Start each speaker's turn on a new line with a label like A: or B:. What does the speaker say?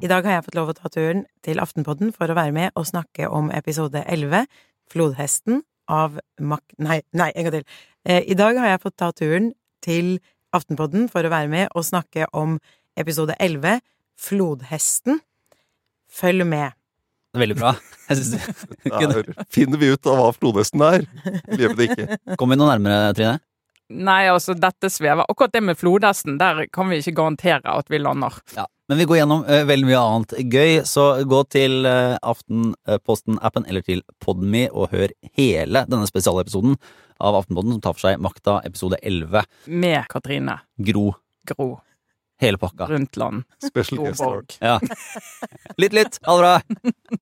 A: I dag har jeg fått lov å ta turen til Aftenpodden for å være med og snakke om episode 11, Flodhesten, av Mac... Nei, nei, en gang til. Eh, I dag har jeg fått ta turen til Aftenpodden for å være med og snakke om episode 11, Flodhesten. Følg med.
B: Veldig bra. Jeg synes,
C: Der finner vi ut av hva flodhesten er. Eller gjør vi det ikke?
B: kom vi noe nærmere, Trine?
D: Nei, altså, dette svever. Akkurat det med flodhesten, der kan vi ikke garantere at vi lander.
B: Ja. Men vi går gjennom eh, veldig mye annet gøy, så gå til eh, Aftenposten-appen eller til Podme og hør hele denne spesialepisoden av Aftenposten som tar for seg Makta episode 11,
D: Med Katrine
B: Gro,
D: Gro
B: hele pakka.
D: Brundtland
C: Special guest star.
D: Storborg.
B: Ja. Litt, litt. Ha det bra.